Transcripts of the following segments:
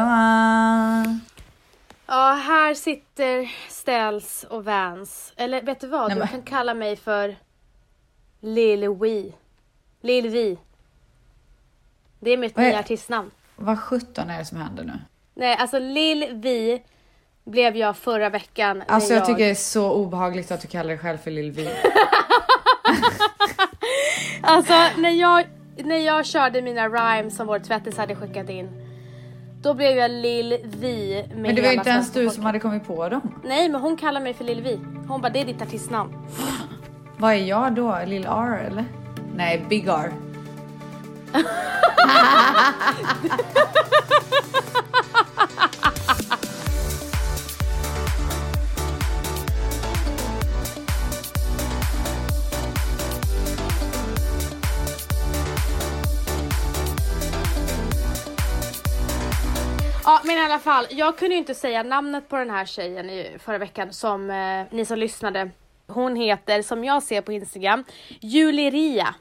Gumman! Ja, här sitter Ställs och Vans. Eller vet du vad? Nej, du men- kan kalla mig för Lil Wee. Lil Vi. Det är mitt Vad är- nya artistnamn. Vad sjutton är det som händer nu? Nej, alltså Lil Vi blev jag förra veckan. när Alltså jag tycker det är så obehagligt att du kallar dig själv för Lil Vi. Alltså när jag, när jag körde mina rhymes som vår tvättis hade skickat in. Då blev jag Lil Vi med Men det var ju hela inte ens svenska du folket. som hade kommit på dem. Nej, men hon kallar mig för Lil Vi. Hon bara, det är ditt artistnamn. Vad är jag då? Lil R eller? Nej, Big R. Ja men i alla fall, jag kunde ju inte säga namnet på den här tjejen i förra veckan som eh, ni som lyssnade. Hon heter, som jag ser på Instagram, Juleria.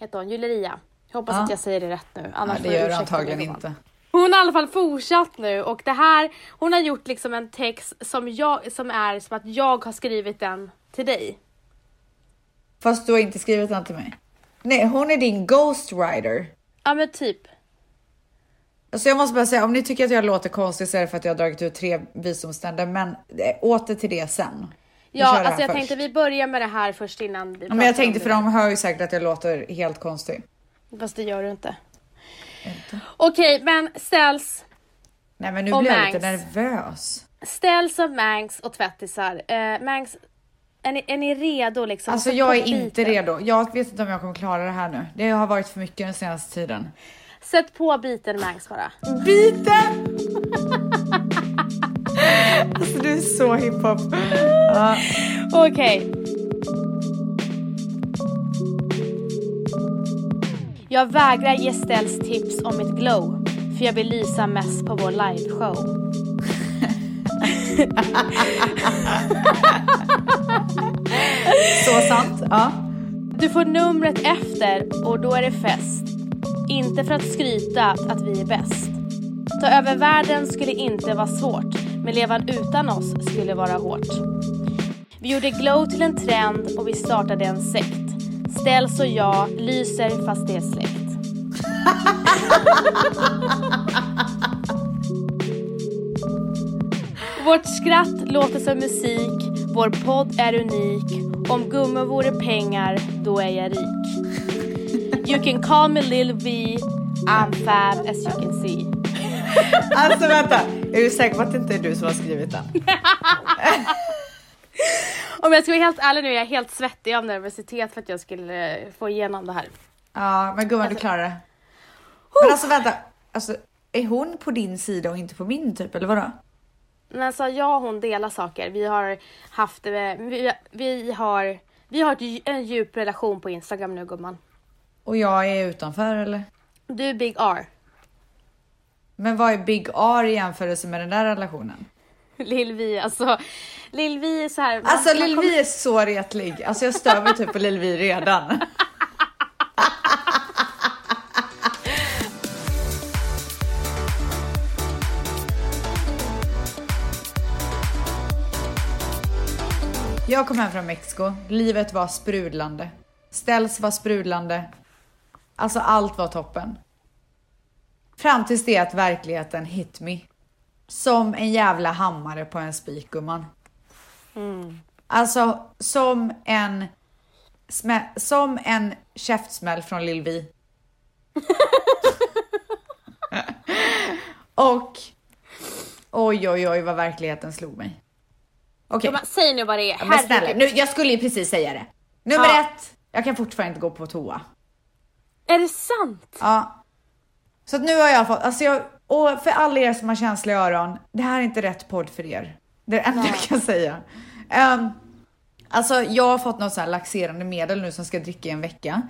Heter hon, Juleria. Jag hoppas Ja. att jag säger det rätt nu. Ja, Annars det får jag gör du ursäkta mig, antagligen Johan. inte. Hon har i alla fall fortsatt nu och det här, hon har gjort liksom en text som, jag, som är som att jag har skrivit den till dig. Fast du har inte skrivit den till mig. Nej, hon är din ghostwriter. Ja men typ. Alltså jag måste bara säga, om ni tycker att jag låter konstig så är det för att jag har dragit ut tre visdomständer, men eh, åter till det sen. Vi Ja kör det här alltså jag först. tänkte vi börjar med det här först innan vi Ja, Men jag pratar om tänkte det för där. de hör ju säkert att jag låter helt konstig. Fast det gör du inte. Okej men ställs Nej men nu Och blir jag lite Mangs. nervös. Ställs av Mangs och tvättisar. Eh, Mangs, är ni, är ni redo liksom? Alltså Sätt jag på är inte biten. redo. Jag vet inte om jag kommer klara det här nu. Det har varit för mycket den senaste tiden. Sätt på biten Mangs bara. Biten! alltså du är så hiphop. Ja. Okej. Jag vägrar ge Ställs tips om mitt glow. För jag vill lysa mest på vår liveshow. Så sant. Ja. Du får numret efter och då är det fest. Inte för att skryta att vi är bäst. Ta över världen skulle inte vara svårt. Men levan utan oss skulle vara hårt. Vi gjorde glow till en trend och vi startade en sekt. Ställs och jag lyser fast det är släkt. Vårt skratt låter som musik, vår podd är unik. Om gummor vore pengar, då är jag rik. You can call me Lil V, I'm fab as you can see. Alltså vänta. Är du säker på att det inte är du som har skrivit den? Om jag ska vara helt ärlig nu är jag helt svettig av nervositet för att jag skulle eh, få igenom det här. Ja men gumman Alltså- du klarar det. Men alltså vänta. Alltså, är hon på din sida och inte på min typ eller vadå? Men så jag och hon delar saker. Vi har haft, eh, vi, vi har, vi har ett, dj- en djup relation på Instagram nu gumman. Och jag är utanför eller? Du Big R, Men vad är Big R i jämförelse med den där relationen? Lil Vi, alltså Lil Vi är så här. Alltså man- man Lil kommer- Vi är så retlig. Alltså jag stör mig typ på Lil Vi redan. Jag kom hem från Mexiko. Livet var sprudlande. Ställs var sprudlande. Alltså allt var toppen. Fram tills det att verkligheten hit me. Som en jävla hammare på en spik gumman. Alltså som en smä- som en käftsmäll från Lil Vi. Och oj oj oj vad verkligheten slog mig. Okej. Gumman, Säg nu vad det är, Men snälla, herregud. nu, jag skulle ju precis säga det. Nummer Ja. ett, jag kan fortfarande inte gå på toa. Är det sant? Ja. Så att nu har jag fått, alltså jag, och för alla er som har känsliga öron, det här är inte rätt podd för er. Det är det enda jag kan säga. Ehm, alltså jag har fått något så här laxerande medel nu som jag ska dricka i en vecka.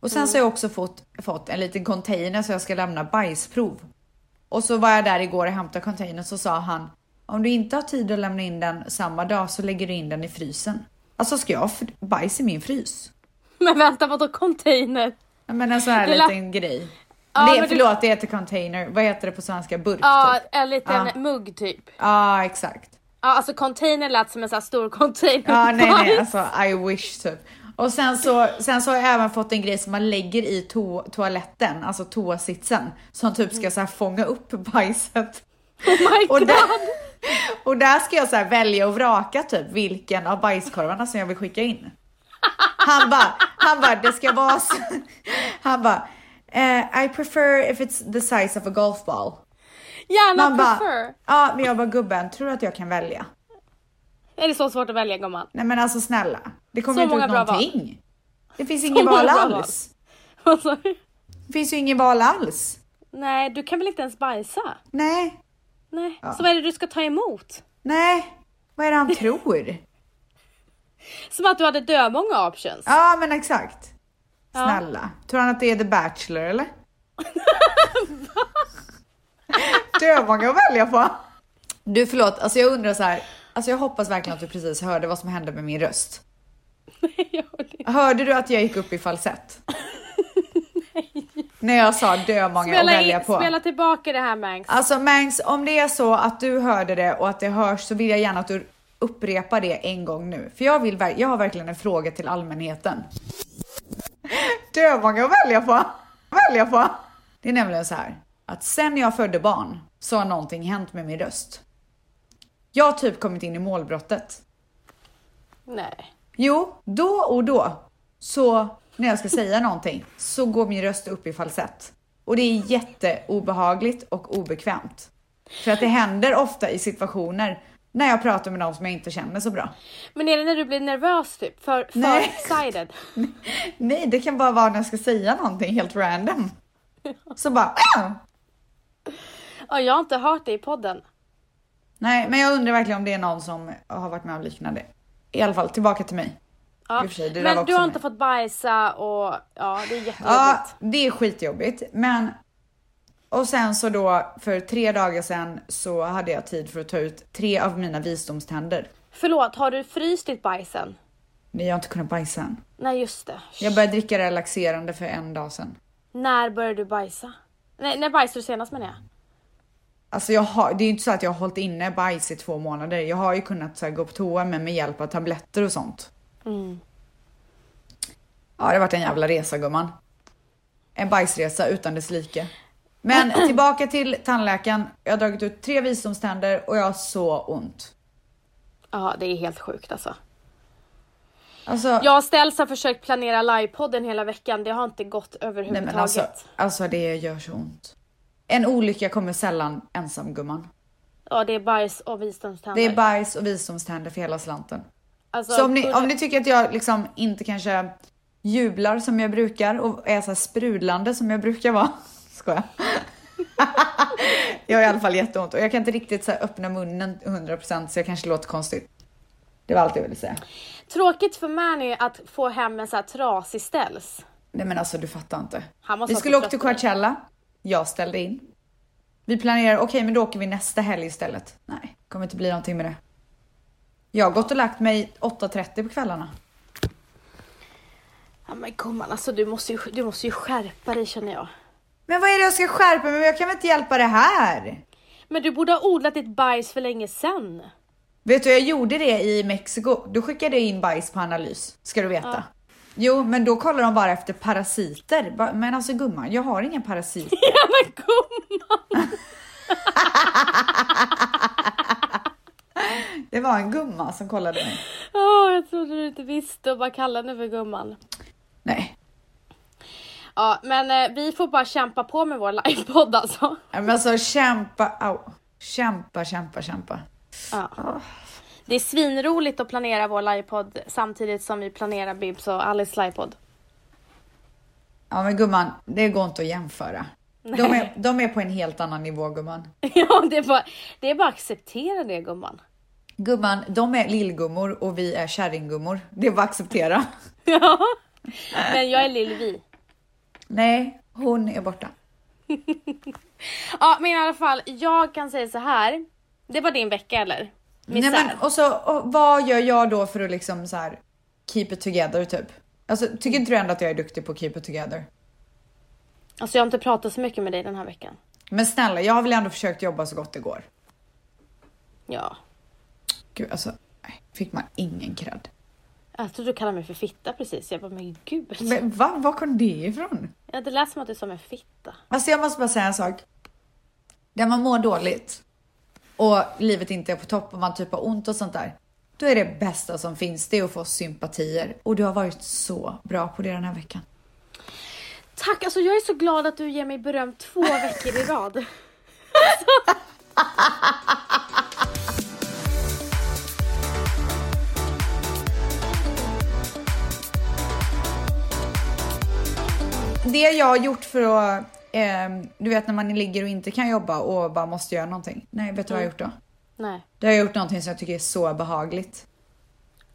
Och sen så har jag också fått, fått en liten container så jag ska lämna bajsprov. Och så var jag där igår och hämtade containern så sa han om du inte har tid att lämna in den samma dag så lägger du in den i frysen. Alltså ska jag ha fr- bajs i min frys? Men vänta vadå container? Ja, Men en sån här Det lät- liten grej. Ja, det, men du- förlåt, det heter container. Vad heter det på svenska? Burk Ja, typ? en liten Ja. mugg typ. Ja, exakt. Ja, alltså container lät som en sån här stor container. Ja, nej, nej, Bajs. alltså I wish typ. Och sen så, sen så har jag även fått en grej som man lägger i to toaletten, alltså toasitsen, som typ Mm. ska så här fånga upp bajset. Oh my Och god. där, och där ska jag så här välja och vraka typ vilken av bajskorvarna som jag vill skicka in. Han bara, han bara, det ska vara så. Han bara, eh, I prefer if it's the size of a golf ball. Gärna Man bara, prefer. ja men jag bara gubben, tror du att jag kan välja? Är det så svårt att välja gumman? Nej men alltså snälla, det Så kommer inte många ut bra någonting. Det finns ingen val många bra alls. Vad sa du? Det finns ju ingen val alls. Nej, du kan väl inte ens bajsa? Nej, Nej. Så vad är det du ska ta emot? nej, vad är det han tror? Som att du hade dömånga options. Ja men exakt. Ja. Snälla. Tror han att det är The Bachelor eller? Dö många att välja på. Du förlåt, alltså jag undrar så här. Alltså jag hoppas verkligen att du precis hörde vad som hände med min röst. Nej, jag håller inte. Hörde du att jag gick upp i falsett? När jag sa dö många att Spela, välja in, på. spela tillbaka det här Mangs. Alltså Mangs, om det är så att du hörde det och att det hörs så vill jag gärna att du upprepar det en gång nu. För jag, vill, ver- jag har verkligen en fråga till allmänheten. Dövmånga att välja på. Välja på. Det är nämligen så här att sen jag födde barn så har någonting hänt med min röst. Jag har typ kommit in i målbrottet. Nej. Jo, då och då så när jag ska säga någonting så går min röst upp i falsett. Och det är jätteobehagligt och obekvämt. För att det händer ofta i situationer när jag pratar med någon som jag inte känner så bra. Men är det när du blir nervös typ? För, för Nej. excited? Nej, det kan bara vara när jag ska säga någonting helt random. Så bara... "Ah!" Ja, jag har inte hört det i podden. Nej, men jag undrar verkligen om det är någon som har varit med om liknande. I alla fall, tillbaka till mig. Ja. I och för sig, det där var Men också du har mig. inte fått bajsa och ja, det är Ja, jättejobbigt. det är skitjobbigt. Men... Och sen så då, för tre dagar sedan så hade jag tid för att ta ut tre av mina visdomständer. Förlåt, har du fryst ditt bajs än? Nej, jag har inte kunnat bajsa än. Nej, just det. Jag började dricka relaxerande för en dag sedan. När började du bajsa? Nej, när bajsade du senast menar jag? Alltså jag har, det är ju inte så att jag har hållit inne bajs i två månader. Jag har ju kunnat så här, gå på toa men med hjälp av tabletter och sånt. Mm. Ja, det har varit en jävla resa gumman. En bajsresa utan dess like. Men tillbaka till tandläkaren. Jag har dragit ut tre visdomständer och jag har så ont. Ja, det är helt sjukt alltså. Alltså, Jag och Ställs har försökt planera livepodden hela veckan. Det har inte gått nej men överhuvudtaget. alltså, alltså det gör så ont. En olycka kommer sällan ensam gumman. Ja, det är bajs och Det visdomständer. är bajs och visdomständer för hela slanten. alltså, Så om ni, gulligt. om ni tycker att jag liksom inte kanske jublar som jag brukar och är så här sprudlande som jag brukar vara. Skojar. jag har i alla fall jätteont och jag kan inte riktigt så här öppna munnen 100% så jag kanske låter konstigt. Det var allt jag ville säga. Tråkigt för Mani att få hem en så här trasig Ställs. Nej men alltså du fattar inte. Han måste Vi ha skulle fått åka till tröttnat. Coachella. Jag ställde in. Vi planerar, okej men då åker vi nästa helg istället. Nej, kommer inte bli någonting med det. Jag har gått och lagt mig 8.30 på kvällarna. Ja men gumman, alltså du måste, ju, du måste ju skärpa dig känner jag. Men vad är det jag ska skärpa mig med? Jag kan väl inte hjälpa det här? Men du borde ha odlat ditt bajs för länge sedan. Vet du, jag gjorde det i Mexiko. Då skickade jag in bajs på analys, ska du veta. Jo, men då kollar de bara efter parasiter. Ba- Men alltså gumman, jag har ingen parasit. Ja men gumman! Det var en gumma som kollade mig. Åh, jag trodde du inte visste och bara kallade henne för gumman. Nej, Ja men eh, vi får bara kämpa på med vår livepodd alltså. men alltså kämpa, au. kämpa, kämpa, kämpa. Ja. Det är svinroligt att planera vår livepodd samtidigt som vi planerar Bibs och Alice livepodd. Ja men gumman, det går inte att jämföra. De är, de är på en helt annan nivå gumman. Ja, det är, bara, det är bara att acceptera det gumman. Gumman, de är lillgummor och vi är kärringgummor. Det är bara att acceptera. Ja. Men jag är Lill-Vi. Nej, hon är borta. Ja, men i alla fall, jag kan säga så här. Det var din vecka eller? Misär. Nej, men, och så, och vad gör jag då för att liksom så här keep it together typ? Alltså, tycker inte du ändå att jag är duktig på keep it together? Alltså jag har inte pratat så mycket med dig den här veckan. Men snälla, jag har väl ändå försökt jobba så gott det går. Ja. Gud, alltså, nej, fick man ingen cred. Jag trodde du kallade mig för fitta precis. Jag bara, men gud. Men va? Var kom det ifrån? Ja, det lät som att du sa en fitta. Alltså jag måste bara säga en sak. När man mår dåligt och livet inte är på topp och man typ har ont och sånt där. Då är det bästa som finns det är att få sympatier. Och du har varit så bra på det den här veckan. Tack, alltså jag är så glad att du ger mig beröm två veckor i rad. Det jag har gjort för att, ehm, du vet när man ligger och inte kan jobba och bara måste göra någonting. Nej, vet du vad jag har gjort då? Nej, Då har jag gjort någonting som jag tycker är så behagligt.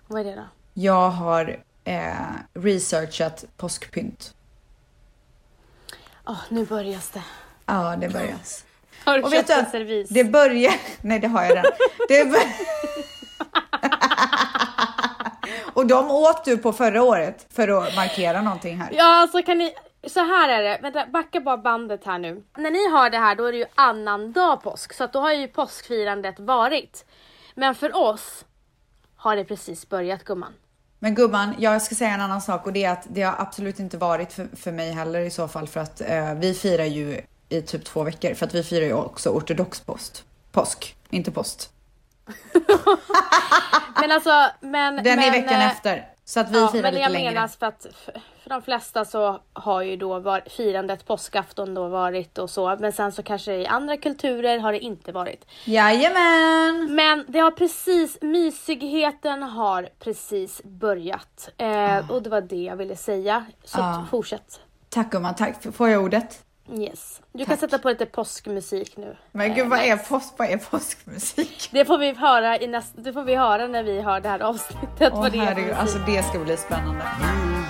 vad är det då? Jag har eh, researchat påskpynt. Åh, nu börjas det. Ja, det börjar. Har du Och vet köpt du en att servis? det börjar... Nej, det har jag redan. Det bör... Och de åt du på förra året för att markera någonting här. Ja, alltså kan ni... Så här är det, vänta backa bara bandet här nu. När ni har det här då är det ju annandag påsk, så att då har ju påskfirandet varit. Men för oss har det precis börjat gumman. Men gumman, jag ska säga en annan sak och det är att det har absolut inte varit för, för mig heller i så fall för att eh, vi firar ju i typ två veckor för att vi firar ju också ortodox post. Påsk, inte post. Men alltså, men... Den men, är veckan eh, efter. Så att vi ja, firar men lite jag längre. menar för att för, för de flesta så har ju då var, firandet påskafton då varit och så, men sen så kanske i andra kulturer har det inte varit. Jajamän! Men det har precis, mysigheten har precis börjat. Eh, Och det var det jag ville säga. Så Ah. fortsätt. Tack gumman, tack. F- Får jag ordet? Yes. Du kan sätta på lite påskmusik nu. Men gud, vad är, påsk, vad är påskmusik? Det får vi höra, i näst, det får vi höra när vi har det här avsnittet. Åh vad det är för herregud, musik. alltså det ska bli spännande. You'll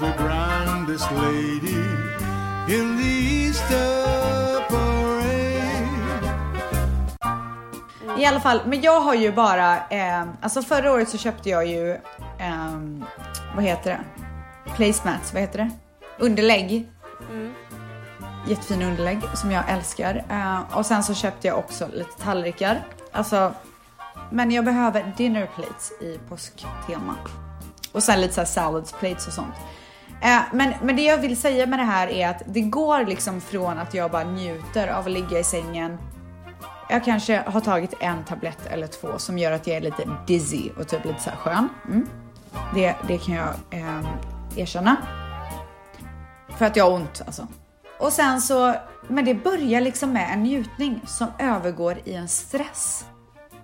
be the grandest lady in the Easter parade. I alla fall, men jag har ju bara, eh, alltså förra året så köpte jag ju, ehm, vad heter det? Placemats, vad heter det? Underlägg. Jättefina underlägg som jag älskar. Eh, och sen så köpte jag också lite tallrikar. Alltså, men jag behöver dinner plates i påsktema. Och sen lite så här salads plates och sånt. Eh, men, men det jag vill säga med det här är att det går liksom från att jag bara njuter av att ligga i sängen jag kanske har tagit en tablett eller två som gör att jag är lite dizzy och typ lite så här skön. Mm. Det, det kan jag eh, erkänna. För att jag har ont alltså. Och sen så, men det börjar liksom med en njutning som övergår i en stress. Ja,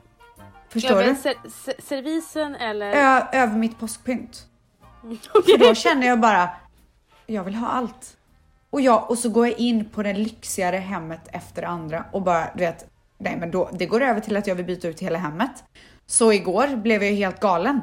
Förstår du? men ser, ser, servisen eller? Ö, över mitt påskpynt. För Okej. då känner jag bara, jag vill ha allt. Och, jag, och så går jag in på det lyxigare hemmet efter det andra och bara, du vet, nej men då, det går över till att jag vill byta ut hela hemmet. Så igår blev jag ju helt galen.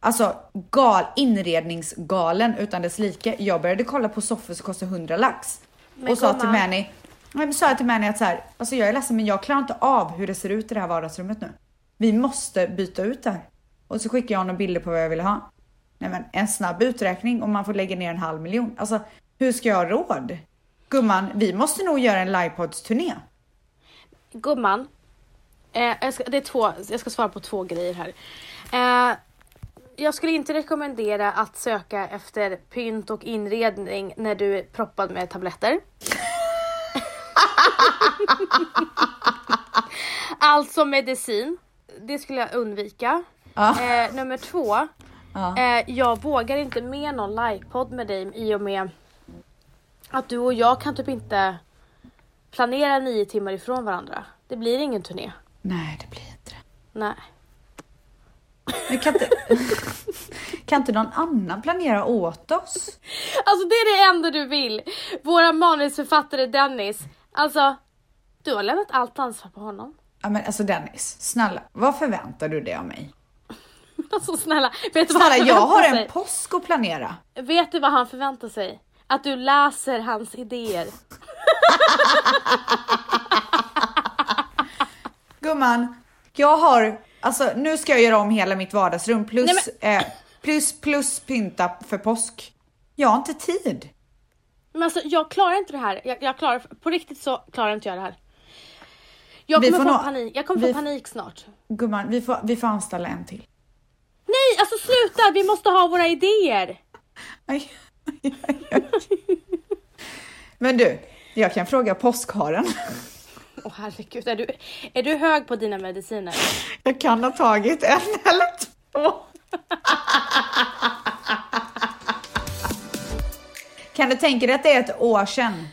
Alltså gal, inredningsgalen utan dess like. Jag började kolla på soffor som kostar 100 lax. Men och sa till gumman. Mani, nej, men sa jag till Mani att så här, alltså jag är ledsen men jag klarar inte av hur det ser ut i det här vardagsrummet nu. Vi måste byta ut det här. Och så skickade jag honom bilder på vad jag ville ha. Nej men en snabb uträkning och man får lägga ner en halv miljon. Alltså hur ska jag ha råd? Gumman, vi måste nog göra en livepods-turné. Gumman. Eh, jag, ska, det är två, jag ska svara på två grejer här. Eh, jag skulle inte rekommendera att söka efter pynt och inredning när du är proppad med tabletter. alltså medicin. Det skulle jag undvika. Ja. Eh, nummer två. Ja. Eh, jag vågar inte med någon livepodd med dig i och med att du och jag kan typ inte planera nio timmar ifrån varandra. Det blir ingen turné. Nej, det blir inte det. Nej. Men kan inte, kan inte någon annan planera åt oss? Alltså det är det enda du vill. Våra manusförfattare Dennis. Alltså, du har lämnat allt ansvar på honom. Ja, men alltså Dennis, snälla, vad förväntar du dig av mig? Alltså snälla, vet du vad Snälla, han jag har förväntar en sig? påsk att planera. Vet du vad han förväntar sig? Att du läser hans idéer. Gumman, jag har, alltså nu ska jag göra om hela mitt vardagsrum plus, Nej, eh, plus, plus pynta för påsk. Jag har inte tid. Men alltså jag klarar inte det här. Jag, jag klarar, på riktigt så klarar inte jag det här. Jag Vi kommer få får nå- panik. Jag kommer vi- få panik snart. Gumman, vi får, vi får anställa en till. Nej, alltså sluta! Vi måste ha våra idéer. Aj, aj, aj, aj. Men du, jag kan fråga påskharen. Åh herregud, är du, är du hög på dina mediciner? Jag kan ha tagit en eller två. Kan du tänka dig att det är ett år sedan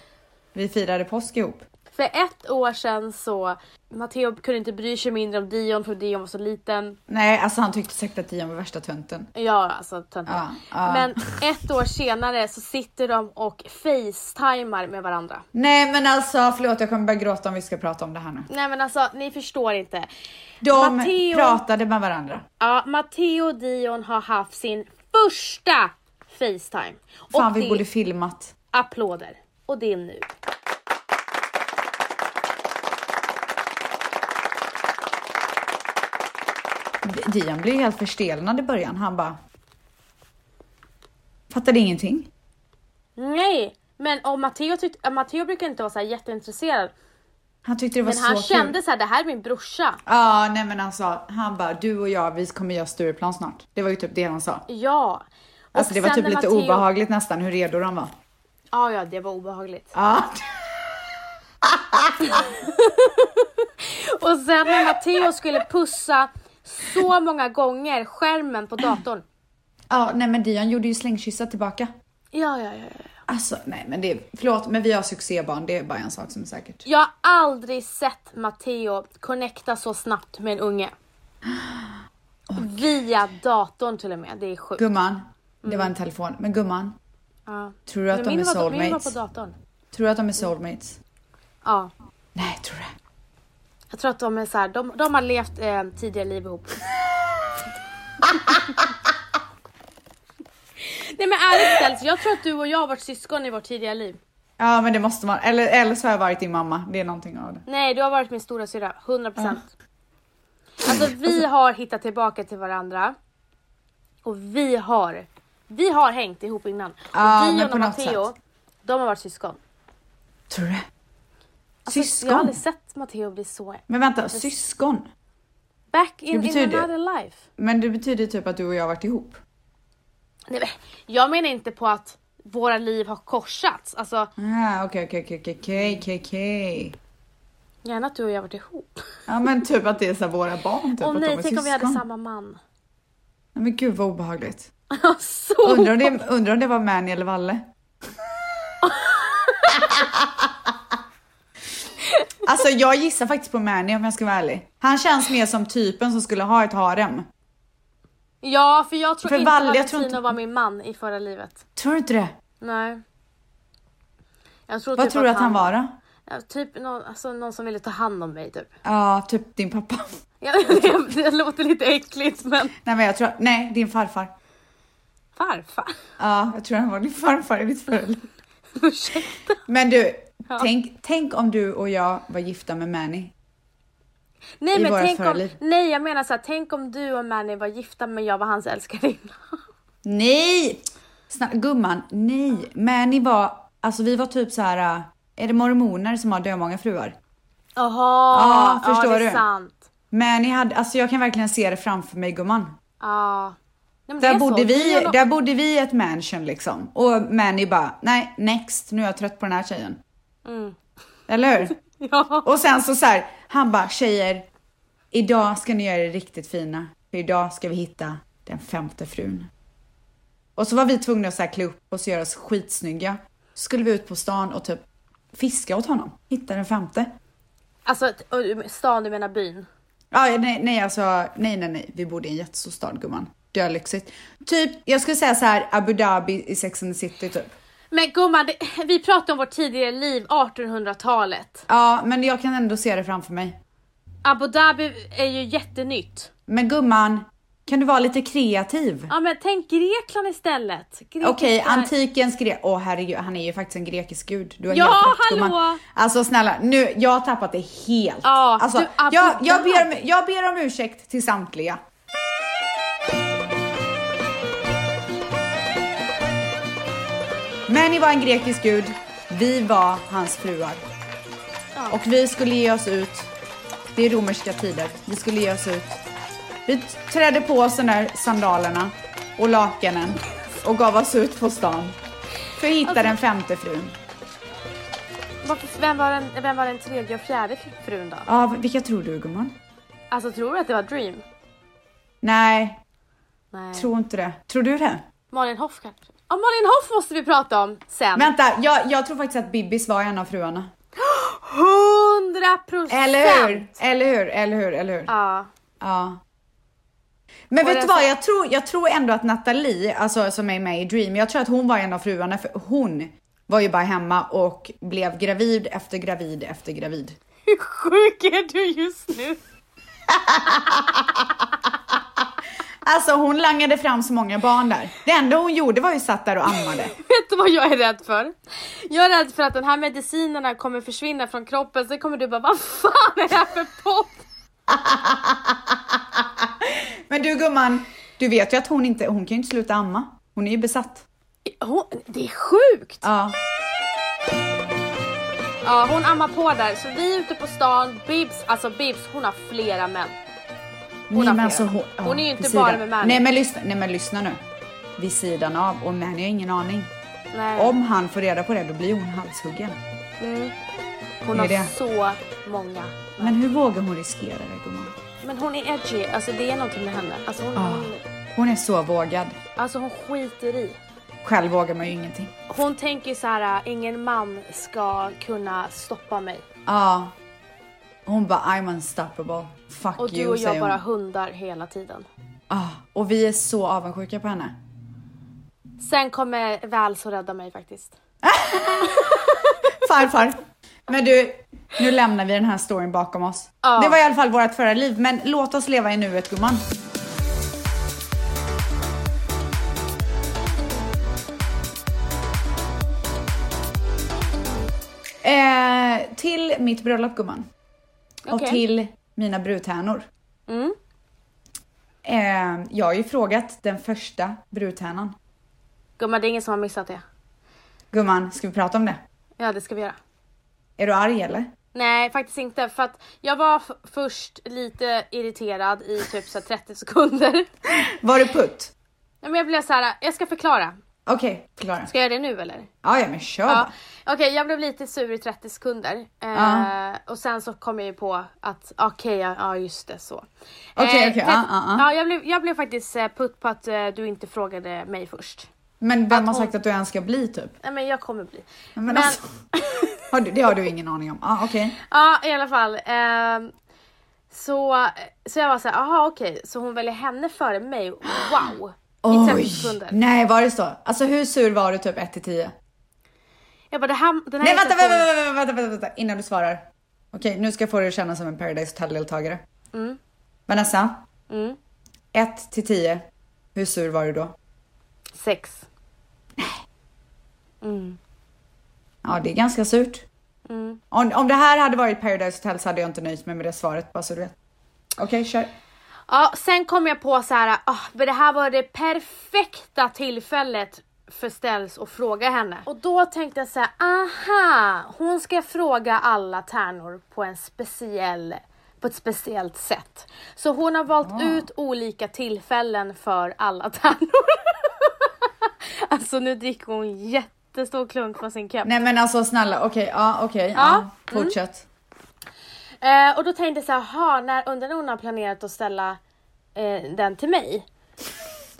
vi firade påsk ihop? För ett år sedan så, Matteo kunde inte bry sig mindre om Dion för Dion var så liten. Nej, alltså han tyckte säkert att Dion var värsta tönten. Ja, alltså töntar. Ja, ja. Men ett år senare så sitter de och facetimar med varandra. Nej men alltså förlåt jag kommer börja gråta om vi ska prata om det här nu. Nej men alltså, ni förstår inte. De Matteo- pratade med varandra. Ja, Matteo och Dion har haft sin första Facetime. Fan och det vi är borde filmat. applåder. Och det är nu. Dion blev helt förstelnad i början. Han bara... Fattade ingenting. Nej! Men och Matteo, tyck- Matteo brukar inte vara så här jätteintresserad. Han tyckte det var Men han så kul. kände så här, det här är min brorsa. Ja, nej men alltså, han bara du och jag, vi kommer göra Stureplan snart. Det var ju typ det han sa. Ja. Och Alltså det var sen typ när lite Matteo- obehagligt nästan hur redo de var. Ja, ja, det var obehagligt. Ja, Och sen när Matteo skulle pussa så många gånger skärmen på datorn. ja nej men Dion gjorde ju slängkyssar tillbaka. Ja, ja, ja. ja. Alltså nej men det, förlåt men vi har succébarn, det är bara en sak som är säkert. Jag har aldrig sett Matteo connecta så snabbt med en unge. Oh, Via datorn till och med, det är sjukt. Gumman, det var en telefon, men gumman, Ja. tror du att Men de min är var, min var på Mm. soulmates? datorn. Tror du att de är soulmates? Ja. Nej, tror du det? Jag tror att de är så här, de, de har levt eh, tidigare liv ihop. Nej men ärligt Stels, jag tror att du och jag har varit syskon i vårt tidigare liv. Ja men det måste man, eller, eller så har jag varit din mamma, det är någonting av det. Nej, du har varit min stora syra, 100%. Alltså vi har hittat tillbaka till varandra. Och vi har, vi har hängt ihop innan. Och Ja, men Dion på och något Matteo, sätt. de har varit syskon. Alltså, Tror du det? Jag har Syskon? aldrig sett Matteo bli så... Men vänta, syskon? Back in, Det in betyder- another life. Men det betyder typ att du och jag har varit ihop? Nej, men, jag menar inte på att våra liv har korsats. Alltså, Ah, okej, okej, okej, okej, okej, okej, okej. gärna att du och jag har varit ihop. Ja men typ att det är så här våra barn, typ Åh att nej, de är tänk om vi hade syskon. samma man. Alltså, Nej, Men gud vad obehagligt. så Undrar om det, undrar om det var Mani eller Valle? alltså jag gissar faktiskt på Mani om jag ska vara ärlig. Han känns mer som typen som skulle ha ett harem. Ja, för jag tror För inte Valle, jag Valentino tror inte- var min man i förra livet. Tror du inte det? Nej. Jag tror Vad typ tror du att han var då? Ja, Typ någon, alltså, någon som ville ta hand om mig typ. Ja, typ din pappa. Ja, det, det låter lite äckligt men Nej men jag tror, nej din farfar. farfar. Ja, jag tror han var din farfar i ditt förhållande. Ursäkta. Men du, tänk, tänk om du och jag var gifta med Mani. Nej I men vårat tänk förra om, liv. nej jag menar såhär, tänk om du och Manny var gifta men jag var hans älskarinna. Nej! Snälla, gumman, nej. Men ni var, alltså vi var typ så här. äh, är det mormoner som har dömånga fruar? Jaha, Ja, förstår ja, det är du? sant. Men ni hade, alltså jag kan verkligen se det framför mig gumman. Ja. Nej, men det Där är bodde, så. vi, Dion och- där bodde vi i ett mansion liksom. Och Manny bara, nej next, nu är jag trött på den här tjejen. Mm. Eller hur? Ja. Och sen så, så här, han bara, tjejer, idag ska ni göra er riktigt fina. För idag ska vi hitta den femte frun. Och så var vi tvungna att så här, klä upp oss och göra oss skitsnygga. Så skulle vi ut på stan och typ fiska åt honom. Hitta den femte. Alltså t- och- stan, du menar byn. Ah, ja, nej, nej, alltså, nej, nej, nej, vi bodde i en jättestor stad gumman. Dölyxigt. Typ, jag skulle säga så här Abu Dhabi i Sex and the City typ. Men gumman, det, vi pratar om vårt tidigare liv, 1800-talet. Ja, men jag kan ändå se det framför mig. Abu Dhabi är ju jättenytt. Men gumman, kan du vara lite kreativ? Ja men tänk Grekland istället. Grekiska- Okej, antikens grek. Åh herregud, han är ju faktiskt en grekisk gud. Du har Ja, helt rätt, hallå! gumman. Alltså snälla, nu, jag har tappat det helt. Ja, alltså, du, Abu jag, jag, Dhabi. ber, om- jag ber om ursäkt till samtliga. Men Fanny var en grekisk gud, vi var hans fruar. Och vi skulle ge oss ut, det är romerska tider, vi skulle ge oss ut. Vi trädde på oss de där sandalerna och lakanen och gav oss ut på stan. För att hitta den femte frun. Varför- Vem var, den, vem var den tredje och fjärde frun då? Ja, vilka tror du gumman? Alltså tror du att det var Dream? Nej, Nej. tror inte det. Tror du det? Malin Hoff kanske? Ja, Malin Hoff måste vi prata om sen. Vänta, jag, jag tror faktiskt att Bibbis var en av fruarna. 100 procent! Eller hur? Eller hur? Eller hur? Eller hur? Ja. Ja. Men vet den du vad, som- jag tror, jag tror ändå att Nathalie, alltså som är med i Dream, jag tror att hon var en av fruarna för hon var ju bara hemma och blev gravid efter gravid efter gravid. Hur sjuk är du just nu? Alltså hon langade fram så många barn där. Det enda hon gjorde var ju satt där och ammade. Vet du vad jag är rädd för? Jag är rädd för att den här medicinerna kommer försvinna från kroppen, sen kommer du bara vad fan är det här för podd? Men du gumman, du vet ju att hon inte, hon kan ju inte sluta amma. Hon är ju besatt. Hon, det är sjukt! Ja. Ja, hon ammar på där, så vi är ute på stan, Bibs, alltså Bibs, hon har flera män. Nej, har men fel. alltså, hon, ja, Hon är ju inte vid sidan. bara med Mani. Nej men, lyssna, nej men lyssna nu. Vid sidan av och Mani har ingen aning. Nej. Om han får reda på det då blir hon halshuggen. Mm. Hon Det har är det. så många. Men hur vågar hon riskera det gumman? Men hon är edgy, alltså det är någonting med henne. Alltså hon, Ja. hon, Hon är så vågad. alltså hon skiter i. Själv vågar man ju ingenting. Hon tänker så här, äh, ingen man ska kunna stoppa mig. Ja. Hon bara I'm unstoppable. Fuck Och du you och jag säger bara hon. hundar hela tiden. Ja. Och vi är så avundsjuka på henne. Sen kommer Väl så rädda mig faktiskt. Farfar. Men du, nu lämnar vi den här storyn bakom oss. Ja. Det var i alla fall vårt förra liv, men låt oss leva i nuet gumman. Eh, till mitt bröllop gumman. Och Okej. till mina brudtärnor. Mm. Eh, jag har ju frågat den första brudtärnan. Gumman, det är ingen som har missat det. Gumman, ska vi prata om det? Ja, det ska vi göra. Är du arg eller? Nej, faktiskt inte. För att jag var f- först lite irriterad i typ så här 30 sekunder. Var du putt? Nej, Men jag blev så här, jag ska förklara. Okej, förklara. Ska jag göra det nu eller? Ja, ja men kör Ja. bara. Okej, jag blev lite sur i 30 sekunder. Eh, Ja. Och sen så kom jag ju på att okej, ja, ja just det så. Okej, okej, tret- ja, ja, ja. ja, jag, blev, jag blev faktiskt eh, putt på att eh, du inte frågade mig först. Men vem har hon- sagt att du ens ska bli typ? Nej men jag kommer bli. Men, Men- Alltså, har du, det har du ingen aning om. Ah, okej. Ja i alla fall. ehm, så, så jag var såhär, jaha okej, så hon väljer henne före mig, wow! I 30 sekunder. Nej, var det så? Alltså hur sur var du typ 1 till 10? Jag bara, det här, den här Nej, vänta, vänta, vänta, irritationen- vänta, vänta, vänta, vänta, innan du svarar. Okej, nu ska jag få dig att känna som en Paradise Hotel-deltagare. Mm. Vanessa, Mm, 1 till 10. Hur sur var du då? sex. Mm, Ja, det är ganska surt. mm. Om, om det här hade varit Paradise Hotel så hade jag inte nöjt mig med det svaret, bara så du vet. Okej, kör. Ja, sen kom jag på så här, ah, men det här var det perfekta tillfället för Ställs att fråga henne. Och då tänkte jag så här, aha, hon ska fråga alla tärnor på en speciell på ett speciellt sätt. Så hon har valt Ah. ut olika tillfällen för alla tärnor. alltså nu dricker hon jättestor klunk från sin kopp. Nej men alltså snälla, okej, ja okej, ja. mm. Fortsätt. Eh, och då tänkte jag så här, "Jaha, när undrar när hon har planerat att ställa eh, den till mig?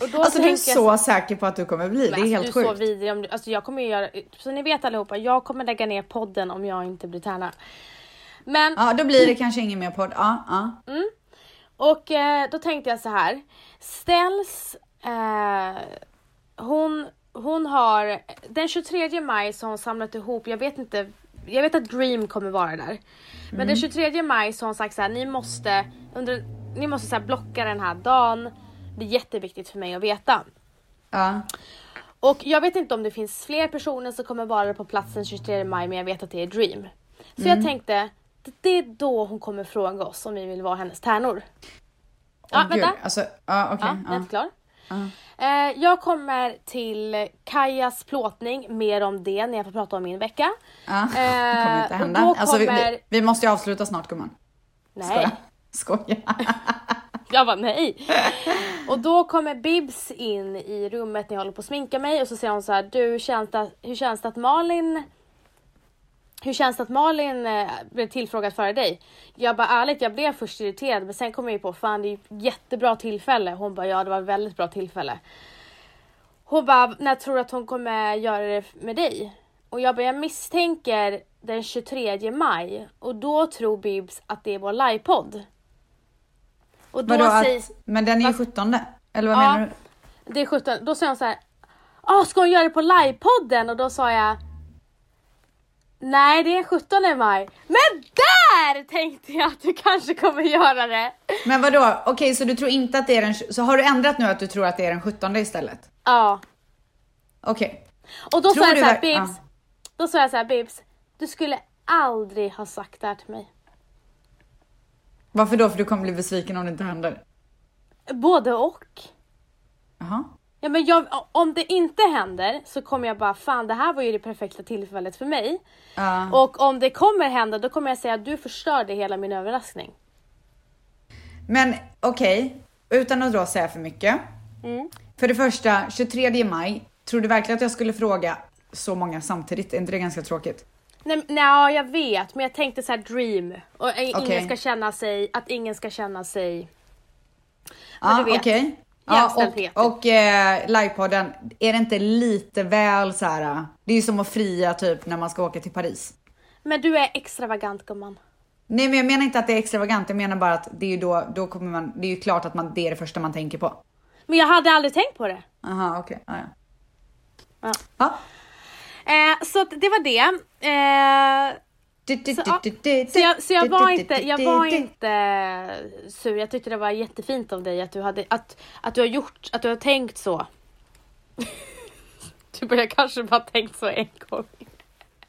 Och då Alltså du är tänker jag så så säker på att du kommer bli, det är Men helt alltså, du är sjukt. så vidrig. Om du, alltså, jag kommer ju göra, så ni vet allihopa, jag kommer lägga ner podden om jag inte blir tärna. Men, Ja, då blir det kanske ingen mer podd. Ja, ja. och eh, då tänkte jag så här. Ställs, eh, hon, hon har, den 23 maj så har hon samlat ihop, jag vet inte, jag vet att Dream kommer vara där. Men Mm. den 23 maj så har hon sagt så här, ni måste, under, ni måste så här blocka den här dagen. Det är jätteviktigt för mig att veta. ja. Och jag vet inte om det finns fler personer som kommer vara på plats den 23 maj men jag vet att det är Dream. Så Mm. jag tänkte, det- det är då hon kommer fråga oss om vi vill vara hennes tärnor. Ja, Åh, vänta. Alltså, ja, okej. Ja, jag är ja. inte klar. Eh, jag kommer till Kajas plåtning, mer om det när jag får prata om min vecka. Ja, det kommer inte Eh, hända. och då Alltså, vi, kommer- vi, vi måste ju avsluta snart gumman. Nej, Skoja. Skoja. jag bara nej. Och då kommer Bibs in i rummet när jag håller på att sminka mig och så säger hon så här, du hur känns det, hur känns det att Malin hur känns det att Malin eh, blev tillfrågad före dig? Jag bara ärligt, jag blev först irriterad men sen kom jag ju på, fan det är ju ett jättebra tillfälle. Hon bara, ja det var ett väldigt bra tillfälle. Hon bara, när tror du att hon kommer göra det med dig? Och jag bara, jag misstänker den 23 maj och då tror Bibs att det är vår livepodd. Och då Vadå, att, sägs, men den är ju 17 eller vad Ja. menar du? det är 17, då säger hon så här, ah ska hon göra det på livepodden? Och då sa jag, nej det är 17 maj. Men där tänkte jag att du kanske kommer göra det. Men vadå, okej så du tror inte att det är den, tj- så har du ändrat nu att du tror att det är den 17 istället? Ja. Okej. Och då Tror sa jag du så här, verk- Bibs, då sa jag så här, Bibs, du skulle aldrig ha sagt det här till mig. Varför då? För du kommer bli besviken om det inte händer? Både och. Jaha. Ja, men jag, om det inte händer så kommer jag bara, fan det här var ju det perfekta tillfället för mig. Ja. Och om det kommer hända då kommer jag säga, du förstörde hela min överraskning. Men okej, utan att då säga för mycket. För det första, 23 maj, tror du verkligen att jag skulle fråga så många samtidigt? Är inte det ganska tråkigt? Nej, men- nej, jag vet, men jag tänkte så här dream. Och i- ingen Okej. ska känna sig, att ingen ska känna sig... Ja, du vet. okej. Ja, Jämställdhet. och och eh, livepodden, är det inte lite väl så här? eh, Det är ju som att fria typ när man ska åka till Paris. Men du är extravagant gumman. Nej men jag menar inte att det är extravagant, jag menar bara att det är ju då, då kommer man, det är ju klart att man, det är det första man tänker på. Men jag hade aldrig tänkt på det. Aha, okej. Ja, Ja. ja. Ja. Eh, så att det var det. Eh, så, ja, så, jag, så jag var inte, jag var inte sur. Jag tyckte det var jättefint av dig att du, hade, att, att du har gjort, att du har tänkt så. Du börjar kanske bara tänkt så en gång.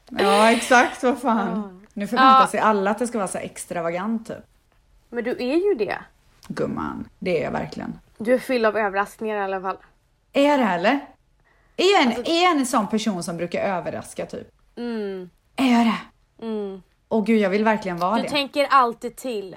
Ja exakt, vad fan. Nu förväntar Ja. sig alla att det ska vara så här extravagant typ. Men du är ju det. Gumman, det är jag verkligen. Du är fylld av överraskningar i alla fall. Är jag det eller? Är jag en, är jag en sån person som brukar överraska typ? Alltså- Mm, Är jag det? mm. Åh gud, jag vill verkligen vara Du det. tänker alltid till.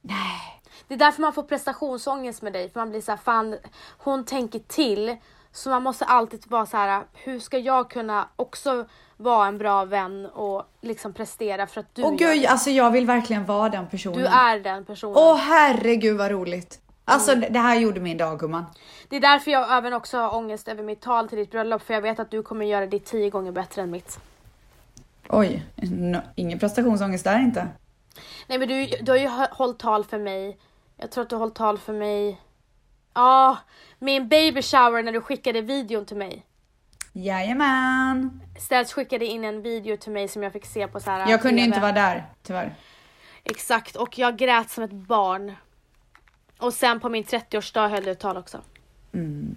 Nej. Det är därför man får prestationsångest med dig. För man blir så här, fan hon tänker till. Så man måste alltid vara så här, hur ska jag kunna också vara en bra vän och liksom prestera för att du Åh gör gud, det. alltså jag vill verkligen vara den personen. Du är den personen. Åh herregud vad roligt. Alltså Mm. det här gjorde min dag gumman. Det är därför jag även också har ångest över mitt tal till ditt bröllop. För jag vet att du kommer göra det tio gånger bättre än mitt. Oj, no, ingen prestationsångest där inte. Nej men du, du har ju hö- hållit tal för mig. Jag tror att du har hållit tal för mig. Ja, min baby shower när du skickade videon till mig. Jajamän. Ställs skickade in en video till mig som jag fick se på så här. Jag kunde TV. inte vara där, tyvärr. Exakt, och jag grät som ett barn. Och sen på min 30-årsdag höll du ett tal också. Men Mm.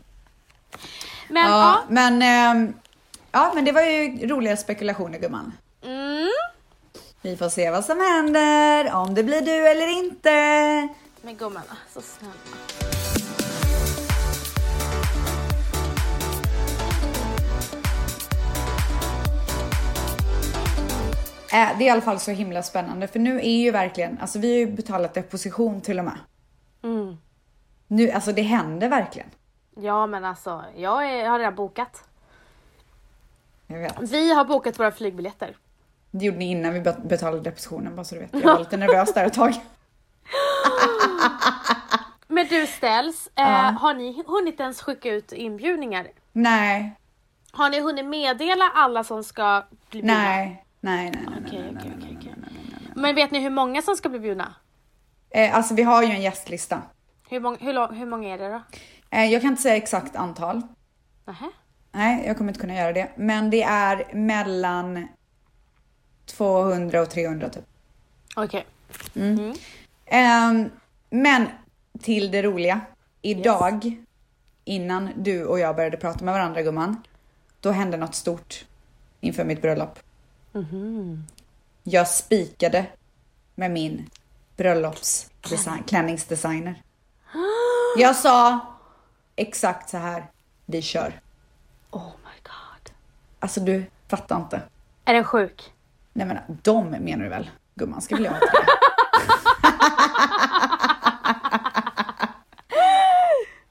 Ja, ja. men, ehm, ja, men det var ju roliga spekulationer gumman. Mm. Vi får se vad som händer, om det blir du eller inte. Men gumman, så snälla. Äh, det är i alla fall så himla spännande för nu är ju verkligen, alltså vi har ju betalat deposition till och med. Mm. Nu, alltså det händer verkligen. Ja men alltså, jag, är, jag har redan bokat. Jag vet. Vi har bokat våra flygbiljetter. Det gjorde ni innan vi bet- betalade depositionen bara så du vet. Jag var lite nervös där ett tag. Men du ställs, eh, har ni hunnit ens skicka ut inbjudningar? Nej, Har ni hunnit meddela alla som ska bli bjudna? nej, nej, nej, nej. Okej, nej, nej, okej, nej, nej, okej, okej. nej, nej, nej. Men vet ni hur många som ska bli bjudna? Eh, alltså vi har ju en gästlista. Hur många, hur, lång- hur många är det då? Eh, jag kan inte säga exakt antal. Nähä? Nej, jag kommer inte kunna göra det. Men det är mellan 200 och 300 typ. Okej. Ehm, men till det roliga. Idag, innan du och jag började prata med varandra gumman, då hände något stort inför mitt bröllop. Jag spikade med min bröllopsklänningsdesigner. Jag sa, exakt så här vi kör. Oh my god. Alltså du fattar inte. Är den sjuk? Nej men de menar du väl? Gumman ska väl jag ha tre?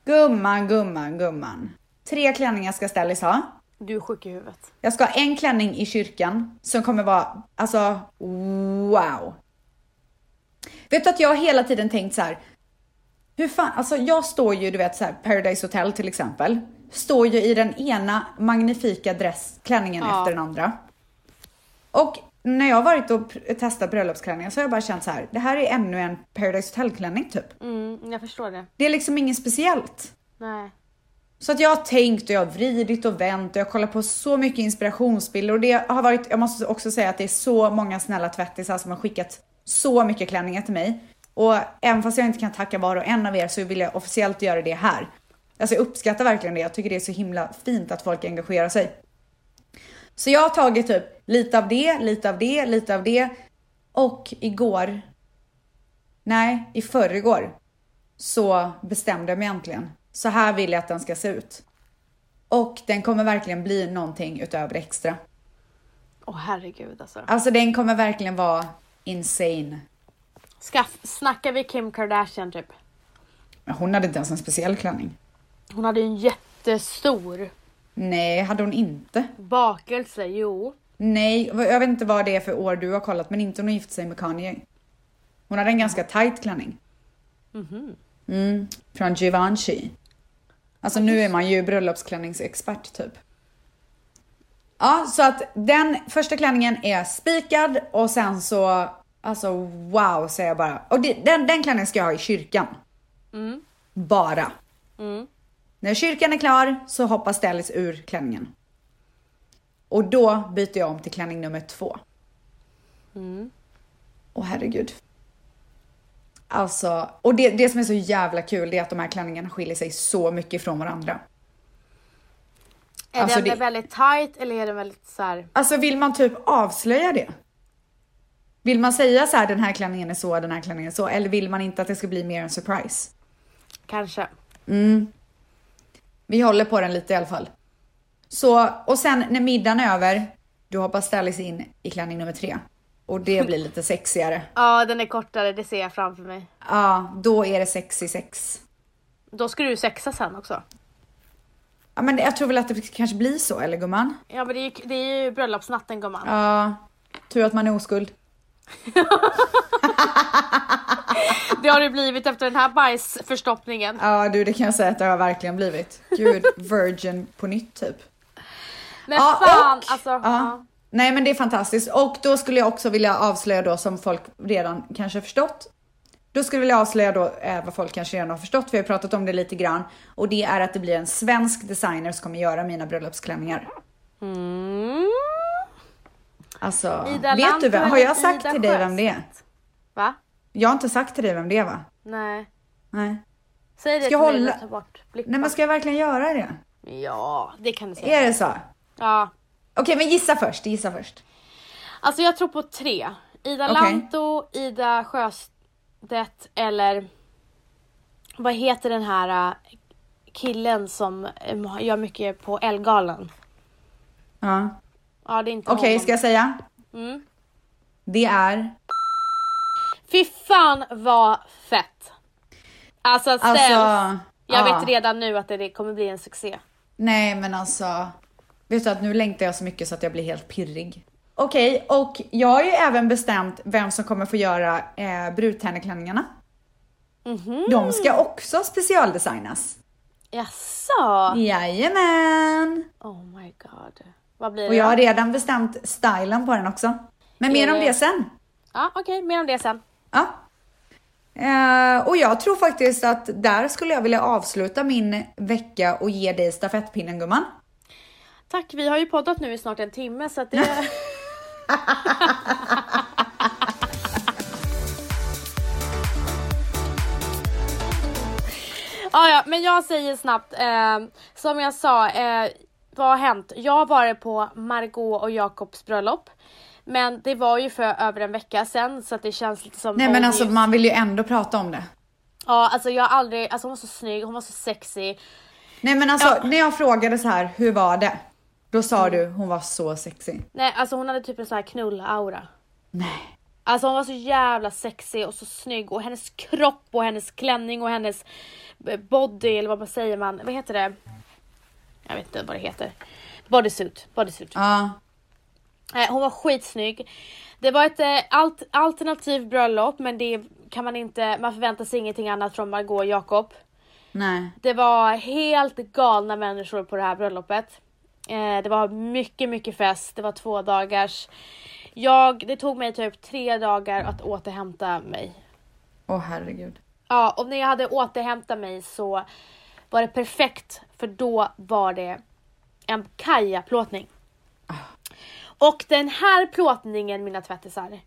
Gumman, gumman, gumman. Tre klänningar ska Stellis ha. Du är sjuk i huvudet. Jag ska ha en klänning i kyrkan som kommer vara, alltså wow. Vet du att jag har hela tiden tänkt så här. Hur fan, alltså jag står ju, du vet så här, Paradise Hotel till exempel. Står ju i den ena magnifika dress, klänningen Ja. efter den andra. Och när jag har varit och pr- testat bröllopsklänningar så har jag bara känt så här. Det här är ännu en Paradise Hotel klänning typ. Mm, jag förstår det. Det är liksom inget speciellt. Nej. Så att jag har tänkt och jag har vridit och vänt och jag kollar på så mycket inspirationsbilder och det har varit, jag måste också säga att det är så många snälla tvättisar som har skickat så mycket klänningar till mig. Och även fast jag inte kan tacka var och en av er så vill jag officiellt göra det här. Alltså jag uppskattar verkligen det, jag tycker det är så himla fint att folk engagerar sig. Så jag har tagit typ lite av det, lite av det, lite av det och igår, nej i förrgår så bestämde jag mig äntligen. Så här vill jag att den ska se ut. Och den kommer verkligen bli någonting utöver extra. Åh herregud alltså. Alltså den kommer verkligen vara insane. Skaff, snackar vi Kim Kardashian typ? Men hon hade inte ens en speciell klänning. Hon hade ju en jättestor Nej, hade hon inte. bakelse, jo. Nej, vad- jag vet inte vad det är för år du har kollat, men inte hon har gift sig med Kanye. Hon hade en ganska tight klänning. Mm, från Givenchy. Alltså nu är man ju bröllopsklänningsexpert typ. Ja, så att den första klänningen är spikad och sen så, alltså wow säger jag bara. Och det, den, den klänningen ska jag ha i kyrkan. Bara. När kyrkan är klar så hoppar Stellis ur klänningen. Och då byter jag om till klänning nummer två. Åh herregud. Alltså, och det, det som är så jävla kul det är att de här klänningarna skiljer sig så mycket från varandra. Är Alltså, den det- väldigt tight eller är den väldigt så här? Alltså vill man typ avslöja det? Vill man säga så här, den här klänningen är så, den här klänningen är så, eller vill man inte att det ska bli mer en surprise? kanske? Vi håller på den lite i alla fall. Så, och sen när middagen är över, då hoppar Stellis in i klänning nummer tre. Och det blir lite sexigare. Ja, den är kortare, det ser jag framför mig. Ja, då är det sexy sex. Då ska du sexa sen också. Ja, men jag tror väl att det kanske blir så, eller gumman? Ja men det är ju, det är ju bröllopsnatten gumman. Ja, tur att man är oskuld. Det har det blivit efter den här bajsförstoppningen. Ja, du, det kan jag säga att det har verkligen blivit. Gud, virgin på nytt typ. Men Ja, fan och- alltså. Ja. Nej, men det är fantastiskt. Och då skulle jag också vilja avslöja då, som folk redan kanske förstått, då skulle jag vilja avslöja då eh, vad folk kanske redan har förstått, för jag har pratat om det lite grann. Och det är att det blir en svensk designer som kommer göra mina bröllopsklänningar. Mm. Alltså, Ida vet du vem? Lantto Har jag eller sagt Ida till dig vem Sjöstedt? det är? Va? Jag har inte sagt till dig vem det är va? Nej. Nej. Säg det Ska till jag mig hålla- och ta bort blicken. Nej, men Eh. ska jag verkligen göra det? Ja, det kan du säga. Är det så? Ja. Okej, men gissa först, gissa först. Alltså jag tror på tre. Ida Okej. Lantto, Ida Sjöstedt eller vad heter den här äh, killen som ähm, gör mycket på Ellegalan? Ja. Ja, det är inte Okej, honom. ska jag säga? Mm. Det är... Fy fan vad fett! Alltså ställs. Alltså... jag ja. vet redan nu att det kommer bli en succé. Nej, men alltså... Vet du att nu längtar jag så mycket så att jag blir helt pirrig. Okej, och jag har ju även bestämt vem som kommer få göra eh, brudtärneklänningarna. De ska också specialdesignas. Mm. Jaså? Jajamän! Oh my god. Vad blir Och det? jag då? har redan bestämt stylen på den också. Men mer om det- det sen. Ja, okej, mer om det sen. Ja. Eh, och jag tror faktiskt att där skulle jag vilja avsluta min vecka och ge dig stafettpinnen gumman. Tack, vi har ju poddat nu i snart en timme så att det... Ja, ja, men jag säger snabbt, eh, som jag sa, eh, vad har hänt? Jag var på Margot och Jakobs bröllop, men det var ju för över en vecka sedan så att det känns lite som... Nej old men alltså news. man vill ju ändå prata om det. Ja, alltså jag har aldrig, alltså hon var så snygg, hon var så sexy. Nej men alltså, Ja. när jag frågade så här, hur var det? Då sa du, hon var så sexig. Nej, alltså hon hade typ en sån här knull-aura. Nej. Alltså hon var så jävla sexig och så snygg och hennes kropp och hennes klänning och hennes eh, body eller vad man säger man, vad heter det? Jag vet inte vad det heter. Bodysuit, bodysuit. Ja. Eh, Hon var skitsnygg. Det var ett eh, alt alternativt bröllop men det kan man inte, man förväntar sig ingenting annat från Margot och Jakob. Nej. Det var helt galna människor på det här bröllopet. Eh, det var mycket, mycket fest. Det var två dagars. Jag, det tog mig typ tre dagar att återhämta mig. Åh herregud. Ja, och när jag hade återhämtat mig så var det perfekt för då var det en kajaplåtning. Och den här plåtningen mina tvättisar,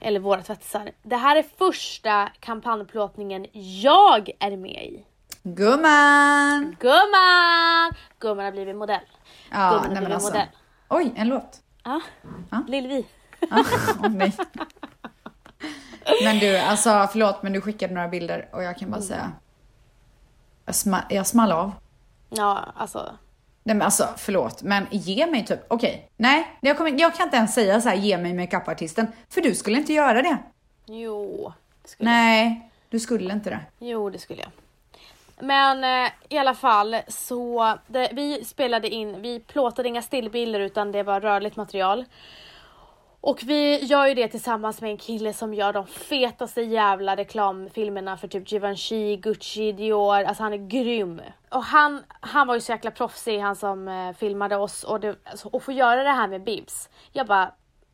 eller våra tvättisar, det här är första kampanjplåtningen jag är med i. Gumman! Gumman! Gumman har blivit modell. Ja, Gumman har nej men blivit alltså. modell. Oj, en låt. Ja. Ja. Lill-Vi. Ah, åh, nej. Men du, alltså förlåt men du skickade några bilder och jag kan Mm. bara säga. Jag, sma, jag small av. Ja, alltså. Nej men alltså förlåt, men ge mig typ, okej, nej, jag, kommer, jag kan inte ens säga så här, ge mig makeupartisten, för du skulle inte göra det. Jo. Det skulle Nej, du skulle inte det. Jo, det skulle jag. Men eh, i alla fall så det, vi spelade in, vi plåtade inga stillbilder utan det var rörligt material. Och vi gör ju det tillsammans med en kille som gör de fetaste jävla reklamfilmerna för typ Givenchy, Gucci, Dior. Alltså han är grym. Och han, han var ju så jäkla proffsig han som eh, filmade oss och, det, alltså, och få göra det här med Bibs. Jag bara,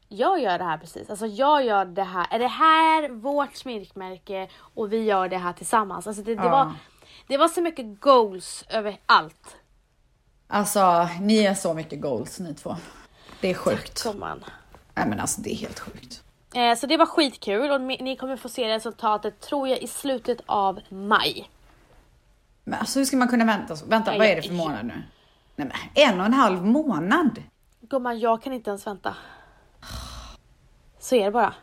jag gör det här precis. Alltså jag gör det här. Är det här vårt sminkmärke och vi gör det här tillsammans. Alltså det, det, Ja. var, det var så mycket goals över allt. Alltså, ni är så mycket goals ni två. Det är sjukt. Sommaren. Nej men alltså det är helt sjukt. Eh, så det var skitkul och ni ni kommer få se resultatet tror jag i slutet av maj. Men alltså hur ska man kunna vänta så? Vänta, Nej, vad är jag- det för månad nu? Nej men, en och en halv månad? Gumman, jag kan inte ens vänta. Så är det bara.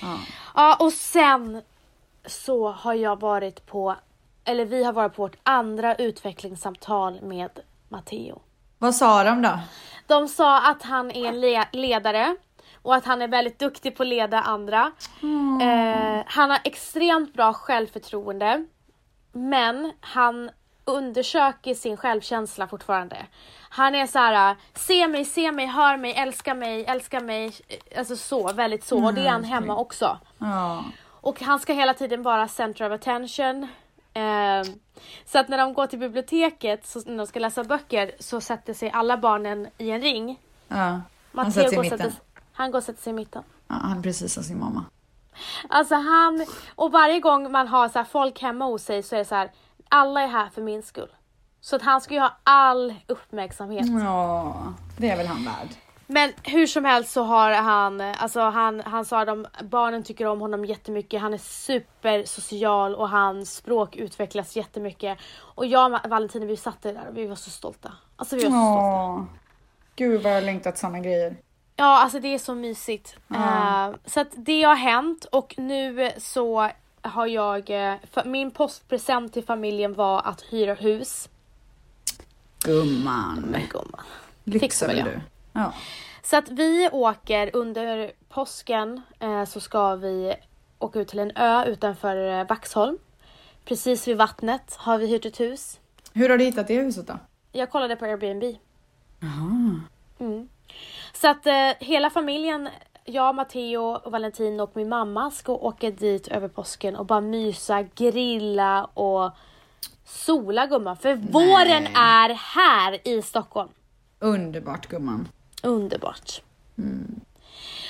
Ja. Ja, och sen så har jag varit på, eller vi har varit på vårt andra utvecklingssamtal med Matteo. Vad sa de då? De sa att han är en le- ledare och att han är väldigt duktig på att leda andra. Eh, han har extremt bra självförtroende. Men han undersöker sin självkänsla fortfarande. Han är så här: se mig, se mig, hör mig, älska mig, älska mig. Alltså så, väldigt så. Och det är han hemma också. Ja. Och han ska hela tiden vara center of attention. Ehm, så att när de går till biblioteket, så, när de ska läsa böcker, så sätter sig alla barnen i en ring. ja. Han Matteo sätter sig går i och mitten. sätter, han går och sätter sig i mitten. Ja, han är precis som sin mamma. Alltså han, och varje gång man har så här folk hemma hos sig så är det så här, alla är här för min skull. Så att han ska ju ha all uppmärksamhet. Mm. Ja, det är väl han värd. Men hur som helst så har han, alltså han, han sa att de, barnen tycker om honom jättemycket, han är supersocial och hans språk utvecklas jättemycket. Och jag och Valentina vi satt där och vi var så stolta. Alltså vi var så stolta. Ja. Gud vad jag har längtat sådana grejer. Ja alltså det är så mysigt. Eh, så att det har hänt och nu så har jag, eh, för, min postpresent till familjen var att hyra hus. Gumman. Men gumman. Fixar Lyxar väl du. Ja. Så att vi åker under påsken eh, så ska vi åka ut till en ö utanför eh, Vaxholm. Precis vid vattnet har vi hyrt ett hus. Hur har du hittat det huset då? Jag kollade på Airbnb. Mm. Så att eh, hela familjen, jag, Matteo, och Valentin och min mamma ska åka dit över påsken och bara mysa, grilla och sola gumman. För våren är här i Stockholm. Underbart gumman. Underbart. Mm.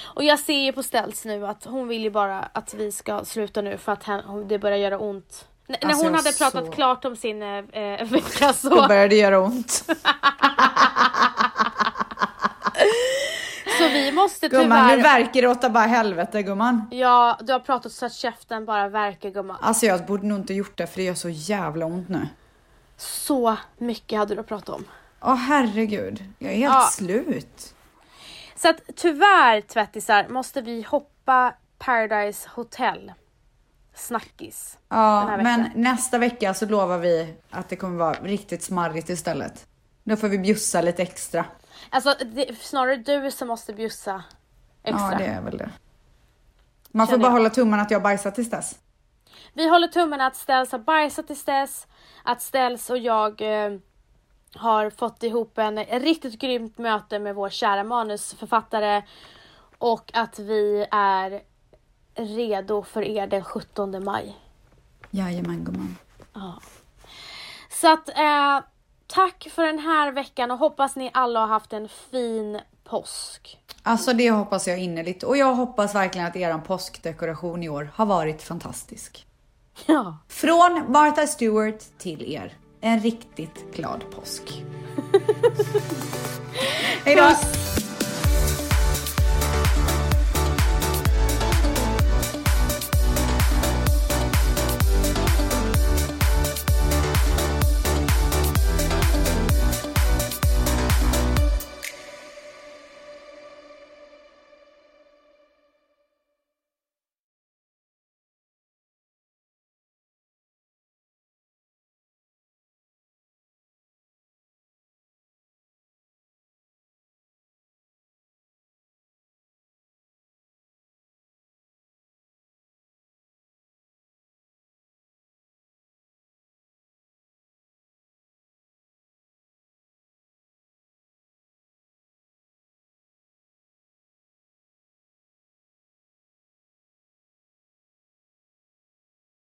Och jag ser ju på Ställs nu att hon vill ju bara att vi ska sluta nu för att hen- hon, det börjar göra ont. N- när Alltså, hon jag hade pratat så- klart om sin eh, eh, vecka Då så, börjar det göra ont. så vi måste Gumman, tyvärr... nu verkar det åt bara helvete gumman. ja, du har pratat så att käften bara verkar gumman. Alltså jag borde nog inte gjort det för det gör så jävla ont nu. Så mycket hade du att prata om. Åh herregud, jag är helt Ja. slut. Så att tyvärr tvättisar måste vi hoppa Paradise Hotel. snackis. den Ja, här men veckan. nästa vecka så lovar vi att det kommer vara riktigt smarrigt istället. Då får vi bjussa lite extra. Alltså det, snarare du som måste bjussa extra. Ja, det är väl det. Man får Känner bara jag. hålla tummarna att jag bajsar tills dess. Vi håller tummen att Ställs har bajsat tills dess, att Ställs och jag eh, har fått ihop en ett riktigt grymt möte med vår kära manusförfattare och att vi är redo för er den 17 maj. Jajamän gumman. Så att eh, tack för den här veckan och hoppas ni alla har haft en fin påsk. Alltså det hoppas jag innerligt och jag hoppas verkligen att eran påskdekoration i år har varit fantastisk. Ja. Från Martha Stewart till er. En riktigt glad påsk. Hej då! Puss!